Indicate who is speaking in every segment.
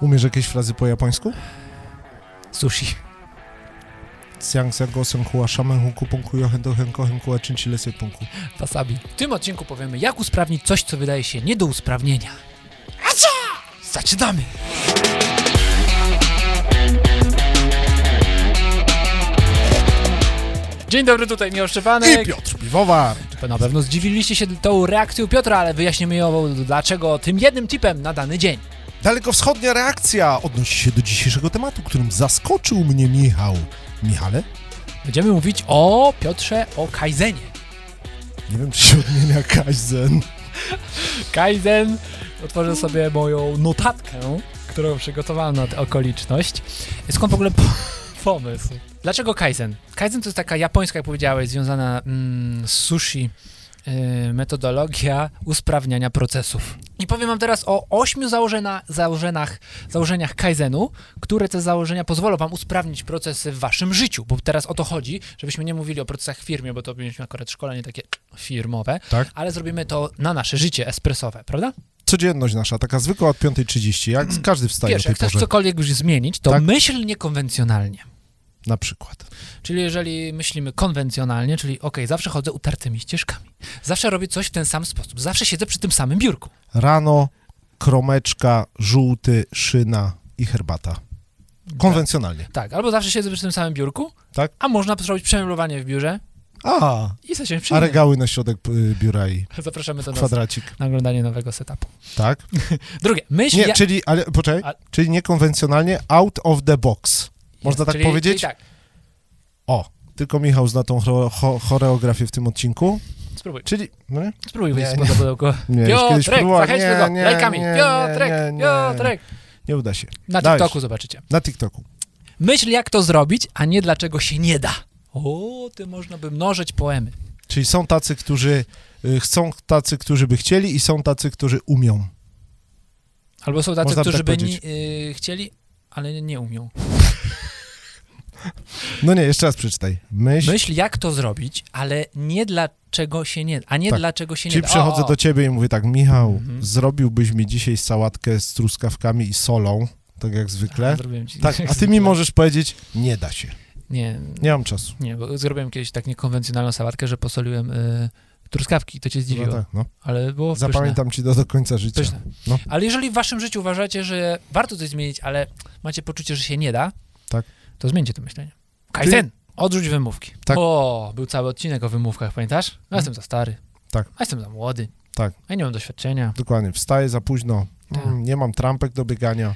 Speaker 1: Umiesz jakieś frazy po japońsku?
Speaker 2: Sushi.
Speaker 1: Tsiang sango senhua shamen hunku punku yohen do henko henku achinchi lesy punku.
Speaker 2: Wasabi. W tym odcinku powiemy, jak usprawnić coś, co wydaje się nie do usprawnienia. Acia! Zaczynamy! Dzień dobry, tutaj Miłosz
Speaker 1: I
Speaker 2: Szczepanek.
Speaker 1: Piotr Piwowar!
Speaker 2: To Na pewno zdziwiliście się tą reakcją Piotra, ale wyjaśnimy ją, dlaczego tym jednym tipem na dany dzień.
Speaker 1: Dalekowschodnia reakcja odnosi się do dzisiejszego tematu, którym zaskoczył mnie Michał. Michale?
Speaker 2: Będziemy mówić o Piotrze, o Kaizenie.
Speaker 1: Nie wiem, czy się odmienia Kaizen.
Speaker 2: Kaizen. Otworzę sobie moją notatkę, którą przygotowałem na tę okoliczność. Skąd w ogóle p- pomysł? Dlaczego Kaizen? Kaizen to jest taka japońska, jak powiedziałeś, związana mm, z sushi y, metodologia usprawniania procesów. I powiem wam teraz o ośmiu założena, założenach, założeniach Kaizenu, które te założenia pozwolą wam usprawnić procesy w waszym życiu, bo teraz o to chodzi, żebyśmy nie mówili o procesach w firmie, bo to mieliśmy akurat szkolenie takie firmowe,
Speaker 1: Tak.
Speaker 2: ale zrobimy to na nasze życie espresowe, prawda?
Speaker 1: Codzienność nasza, taka zwykła od 5.30, jak każdy wstaje
Speaker 2: Wiesz,
Speaker 1: o tej
Speaker 2: jak chcesz
Speaker 1: porze.
Speaker 2: cokolwiek już zmienić, to
Speaker 1: Tak.
Speaker 2: myśl niekonwencjonalnie.
Speaker 1: Na przykład.
Speaker 2: Czyli jeżeli myślimy konwencjonalnie, czyli okej, zawsze chodzę utartymi ścieżkami, zawsze robię coś w ten sam sposób, zawsze siedzę przy tym samym biurku.
Speaker 1: Rano, kromeczka, żółty, szyna i herbata. Konwencjonalnie.
Speaker 2: Tak, albo zawsze siedzę przy tym samym biurku,
Speaker 1: Tak.
Speaker 2: a można zrobić przemeblowanie w biurze
Speaker 1: A,
Speaker 2: i zasiąść przy
Speaker 1: a
Speaker 2: nim.
Speaker 1: regały na środek y, biura i
Speaker 2: Zapraszamy do nas
Speaker 1: kwadracik.
Speaker 2: na oglądanie nowego setupu.
Speaker 1: Tak?
Speaker 2: Drugie, myśl...
Speaker 1: Nie,
Speaker 2: ja-
Speaker 1: czyli, ale poczekaj,
Speaker 2: A-
Speaker 1: czyli niekonwencjonalnie out of the box. Można tak
Speaker 2: czyli,
Speaker 1: powiedzieć?
Speaker 2: Czyli tak,
Speaker 1: O, tylko Michał zna tą cho- cho- choreografię w tym odcinku.
Speaker 2: spróbuj,
Speaker 1: Czyli, no nie?
Speaker 2: spróbuj wyjść
Speaker 1: Nie,
Speaker 2: z pudełko.
Speaker 1: Nie, już kiedyś
Speaker 2: Piotrek,
Speaker 1: próbowałem.
Speaker 2: zachęćmy
Speaker 1: Nie,
Speaker 2: go,
Speaker 1: nie,
Speaker 2: lajkami.
Speaker 1: nie,
Speaker 2: Piotrek,
Speaker 1: nie, nie.
Speaker 2: Piotrek.
Speaker 1: Nie uda się.
Speaker 2: Na
Speaker 1: Dajesz.
Speaker 2: TikToku zobaczycie.
Speaker 1: Na TikToku.
Speaker 2: Myśl jak to zrobić, a nie dlaczego się nie da. O, ty można by mnożyć poemy.
Speaker 1: Czyli są tacy, którzy y, chcą, tacy, którzy by chcieli i są tacy, którzy umią.
Speaker 2: Albo są tacy,
Speaker 1: Można by
Speaker 2: którzy
Speaker 1: tak
Speaker 2: by
Speaker 1: powiedzieć.
Speaker 2: ni- y, chcieli, ale nie umią.
Speaker 1: No nie, jeszcze raz przeczytaj. Myśl,
Speaker 2: Myśl jak to zrobić, ale nie dlaczego się nie da. A nie
Speaker 1: Tak.
Speaker 2: dlaczego się
Speaker 1: Czyli
Speaker 2: nie da.
Speaker 1: przechodzę
Speaker 2: O, o.
Speaker 1: do ciebie i mówię tak, Michał,
Speaker 2: Mhm.
Speaker 1: zrobiłbyś mi dzisiaj sałatkę z truskawkami i solą, tak jak zwykle.
Speaker 2: Zrobiłem ci-
Speaker 1: Tak, a ty mi możesz powiedzieć, nie da się.
Speaker 2: Nie,
Speaker 1: Nie mam czasu.
Speaker 2: nie, bo zrobiłem kiedyś tak niekonwencjonalną sałatkę, że posoliłem y, truskawki, to cię zdziwiło.
Speaker 1: No tak, no.
Speaker 2: Ale było pyszne.
Speaker 1: Zapamiętam ci to do końca życia.
Speaker 2: Pyszne.
Speaker 1: No.
Speaker 2: Ale jeżeli w waszym życiu uważacie, że warto coś zmienić, ale macie poczucie, że się nie da,
Speaker 1: Tak.
Speaker 2: to zmieńcie to myślenie. Kaizen, odrzuć wymówki.
Speaker 1: Tak. Mhm.
Speaker 2: O, był cały odcinek o wymówkach, pamiętasz? No, ja jestem za stary.
Speaker 1: Tak.
Speaker 2: A jestem za młody.
Speaker 1: Tak.
Speaker 2: A ja nie mam doświadczenia.
Speaker 1: Dokładnie, wstaję za późno,
Speaker 2: Tak.
Speaker 1: mm, nie mam trampek do biegania.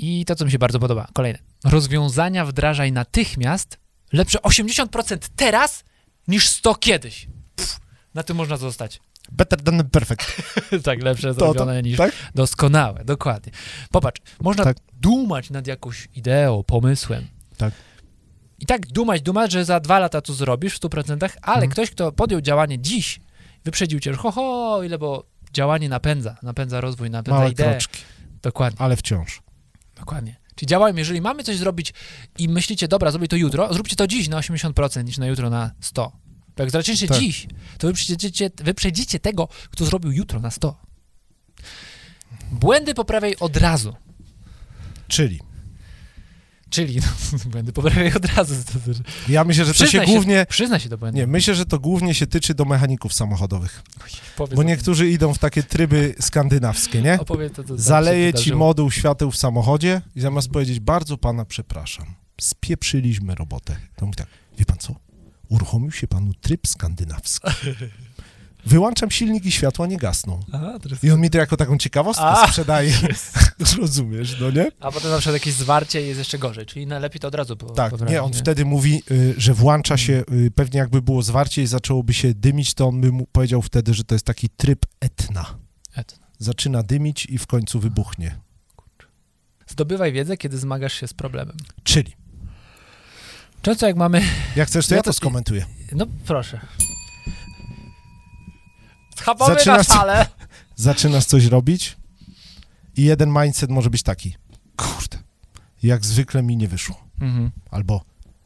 Speaker 2: I to, co mi się bardzo podoba, kolejne. Rozwiązania wdrażaj natychmiast, lepsze 80% teraz niż 100 kiedyś. Pff, na tym można zostać.
Speaker 1: Better than perfect.
Speaker 2: tak, lepsze
Speaker 1: To, to,
Speaker 2: zrobione niż
Speaker 1: tak?
Speaker 2: Doskonałe, dokładnie. Popatrz, można
Speaker 1: Tak.
Speaker 2: dumać nad jakąś ideą, pomysłem.
Speaker 1: Tak.
Speaker 2: I tak dumać, dumać, że za dwa lata to zrobisz w 100%, ale
Speaker 1: Mhm.
Speaker 2: ktoś, kto podjął działanie dziś, wyprzedził cię, że ho, ho, ile, bo działanie napędza, napędza rozwój, napędza
Speaker 1: Małe
Speaker 2: ideę.
Speaker 1: kroczki,
Speaker 2: Dokładnie,
Speaker 1: ale wciąż.
Speaker 2: dokładnie. Czyli działajmy, jeżeli mamy coś zrobić i myślicie, dobra, zrobię to jutro, zróbcie to dziś na 80% niż na jutro na 100. Bo jak zaczniecie
Speaker 1: Tak.
Speaker 2: dziś, to wyprzedzicie, wyprzedzicie tego, kto zrobił jutro na 100. Błędy poprawiaj od razu.
Speaker 1: Czyli,
Speaker 2: Czyli no, będę poprawiał od razu. znaczy,
Speaker 1: ja myślę, że to
Speaker 2: Przyznaj
Speaker 1: się głównie...
Speaker 2: Przyzna się do błędu.
Speaker 1: Nie, myślę, że to głównie się tyczy do mechaników samochodowych,
Speaker 2: Powiedz
Speaker 1: bo
Speaker 2: o tym.
Speaker 1: niektórzy idą w takie tryby skandynawskie, nie?
Speaker 2: Opowiedz to, co tam Tak się
Speaker 1: Zaleje ci
Speaker 2: wydarzyło.
Speaker 1: moduł świateł w samochodzie i zamiast powiedzieć bardzo pana przepraszam, spieprzyliśmy robotę. To mówi tak, wie pan co? Uruchomił się panu tryb skandynawski. Wyłączam silnik i światła nie gasną.
Speaker 2: Aha, teraz...
Speaker 1: I on mi to jako taką ciekawostkę
Speaker 2: A,
Speaker 1: sprzedaje. Rozumiesz, no nie?
Speaker 2: A potem na przykład jakieś zwarcie i jest jeszcze gorzej, czyli najlepiej to od razu po,
Speaker 1: Tak,
Speaker 2: poprawić,
Speaker 1: nie, on wtedy mówi, y, że włącza się, y, pewnie jakby było zwarcie i zaczęłoby się dymić, to on by mu powiedział wtedy, że to jest taki tryb etna.
Speaker 2: Etna.
Speaker 1: Zaczyna dymić i w końcu wybuchnie.
Speaker 2: Zdobywaj wiedzę, kiedy zmagasz się z problemem.
Speaker 1: Czyli,
Speaker 2: Często jak mamy...
Speaker 1: jak chcesz, to
Speaker 2: Ja
Speaker 1: ja to
Speaker 2: to-
Speaker 1: skomentuję.
Speaker 2: No proszę. Schabamy na
Speaker 1: Zaczynasz-
Speaker 2: salę.
Speaker 1: Zaczynasz coś robić i jeden mindset może być taki, kurde, jak zwykle mi nie wyszło.
Speaker 2: Mhm.
Speaker 1: Albo,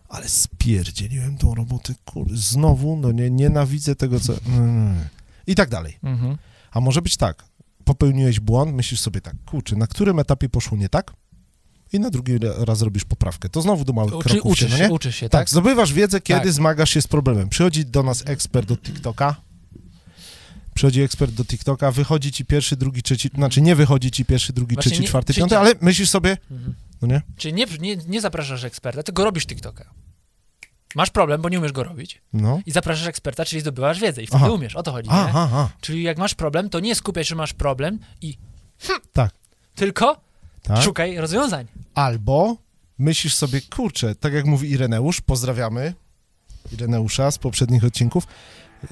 Speaker 1: ale spierdzieliłem tą robotę, kurde, znowu, no nie, nienawidzę tego, co... Mm. I tak dalej.
Speaker 2: Mhm.
Speaker 1: A może być tak, popełniłeś błąd, myślisz sobie tak, kurczę, na którym etapie poszło nie tak? I na drugi ra- raz robisz poprawkę. To znowu do małych
Speaker 2: Czyli
Speaker 1: kroków się,
Speaker 2: uczysz,
Speaker 1: no
Speaker 2: się,
Speaker 1: nie?
Speaker 2: uczysz się,
Speaker 1: tak?
Speaker 2: tak?
Speaker 1: zdobywasz wiedzę, kiedy
Speaker 2: Tak.
Speaker 1: zmagasz się z problemem. Przychodzi do nas ekspert do TikToka. Przychodzi ekspert do TikToka, wychodzi ci pierwszy, drugi, trzeci, znaczy nie wychodzi ci pierwszy, drugi,
Speaker 2: Właśnie
Speaker 1: trzeci,
Speaker 2: nie-
Speaker 1: czwarty,
Speaker 2: czyli
Speaker 1: piąty,
Speaker 2: nie-
Speaker 1: ale myślisz sobie,
Speaker 2: Mhm.
Speaker 1: no nie?
Speaker 2: Czyli nie, nie, nie zapraszasz eksperta, tylko robisz TikToka. Masz problem, bo nie umiesz go robić
Speaker 1: No.
Speaker 2: i zapraszasz eksperta, czyli zdobywasz wiedzę i wtedy
Speaker 1: Aha.
Speaker 2: umiesz, o to chodzi, nie?
Speaker 1: A, a, a.
Speaker 2: Czyli jak masz problem, to nie skupiaj się, że masz problem i hm,
Speaker 1: Tak.
Speaker 2: tylko
Speaker 1: Tak?
Speaker 2: szukaj rozwiązań.
Speaker 1: Albo myślisz sobie, kurczę, tak jak mówi Ireneusz, pozdrawiamy Ireneusza z poprzednich odcinków,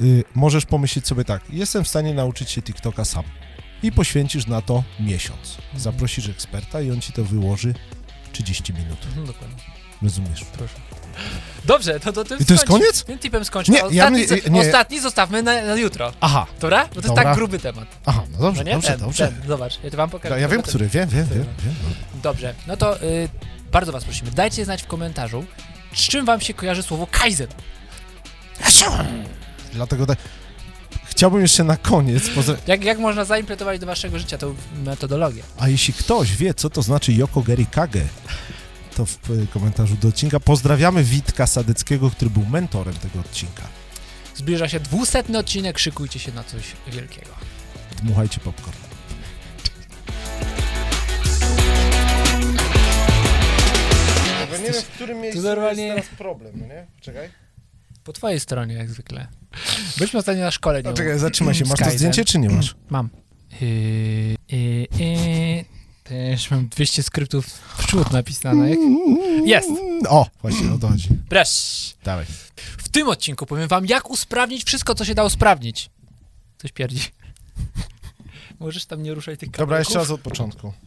Speaker 1: y, możesz pomyśleć sobie tak, jestem w stanie nauczyć się TikToka sam i poświęcisz na to miesiąc. Zaprosisz eksperta i on ci to wyłoży w 30 minut.
Speaker 2: Mhm, dokładnie.
Speaker 1: Rozumiesz?
Speaker 2: Dobrze, to, to tym
Speaker 1: I to jest
Speaker 2: skończ-
Speaker 1: koniec?
Speaker 2: Tym tipem skończmy. No,
Speaker 1: Nie,
Speaker 2: ostatni,
Speaker 1: ja bym-
Speaker 2: zo-
Speaker 1: nie.
Speaker 2: ostatni zostawmy na, na jutro.
Speaker 1: Aha,
Speaker 2: Dobra? Bo to jest
Speaker 1: Dobra.
Speaker 2: tak gruby temat.
Speaker 1: aha, no dobrze,
Speaker 2: no nie?
Speaker 1: dobrze,
Speaker 2: ten,
Speaker 1: dobrze.
Speaker 2: Ten, zobacz, ja to wam pokażę.
Speaker 1: Ja wiem, który, wiem, wiem,
Speaker 2: Dobra.
Speaker 1: wiem. wiem.
Speaker 2: Dobrze, no to y, bardzo was prosimy, dajcie znać w komentarzu, z czym wam się kojarzy słowo Kaizen.
Speaker 1: Dlatego tak... Chciałbym jeszcze na koniec, pozdra-
Speaker 2: Jak, jak można zaimplementować do waszego życia tą metodologię?
Speaker 1: A jeśli ktoś wie, co to znaczy Yoko Gerikage, to w e, komentarzu do odcinka pozdrawiamy Witka Sadeckiego, który był mentorem tego odcinka.
Speaker 2: Zbliża się 200 odcinek, szykujcie się na coś wielkiego.
Speaker 1: Dmuchajcie popcorn. Nie wiem, w którym miejscu
Speaker 2: normalnie- jest
Speaker 1: teraz problem, no nie? Czekaj.
Speaker 2: Po twojej stronie, jak zwykle. Byliśmy ostatnio na szkole.
Speaker 1: No,
Speaker 2: nie-
Speaker 1: czekaj, zatrzymaj się. Masz to
Speaker 2: Skyzen.
Speaker 1: zdjęcie, czy nie masz?
Speaker 2: Mam. Yy, yy, yy. Też mam 200 skryptów w przód napisanych. Jest.
Speaker 1: Mm, O, właśnie, o to chodzi.
Speaker 2: Bresz!
Speaker 1: Dawaj.
Speaker 2: W tym odcinku powiem wam, jak usprawnić wszystko, co się da usprawnić. Coś pierdzi. Możesz tam nie ruszać tych kabelków?
Speaker 1: Dobra, jeszcze raz od początku.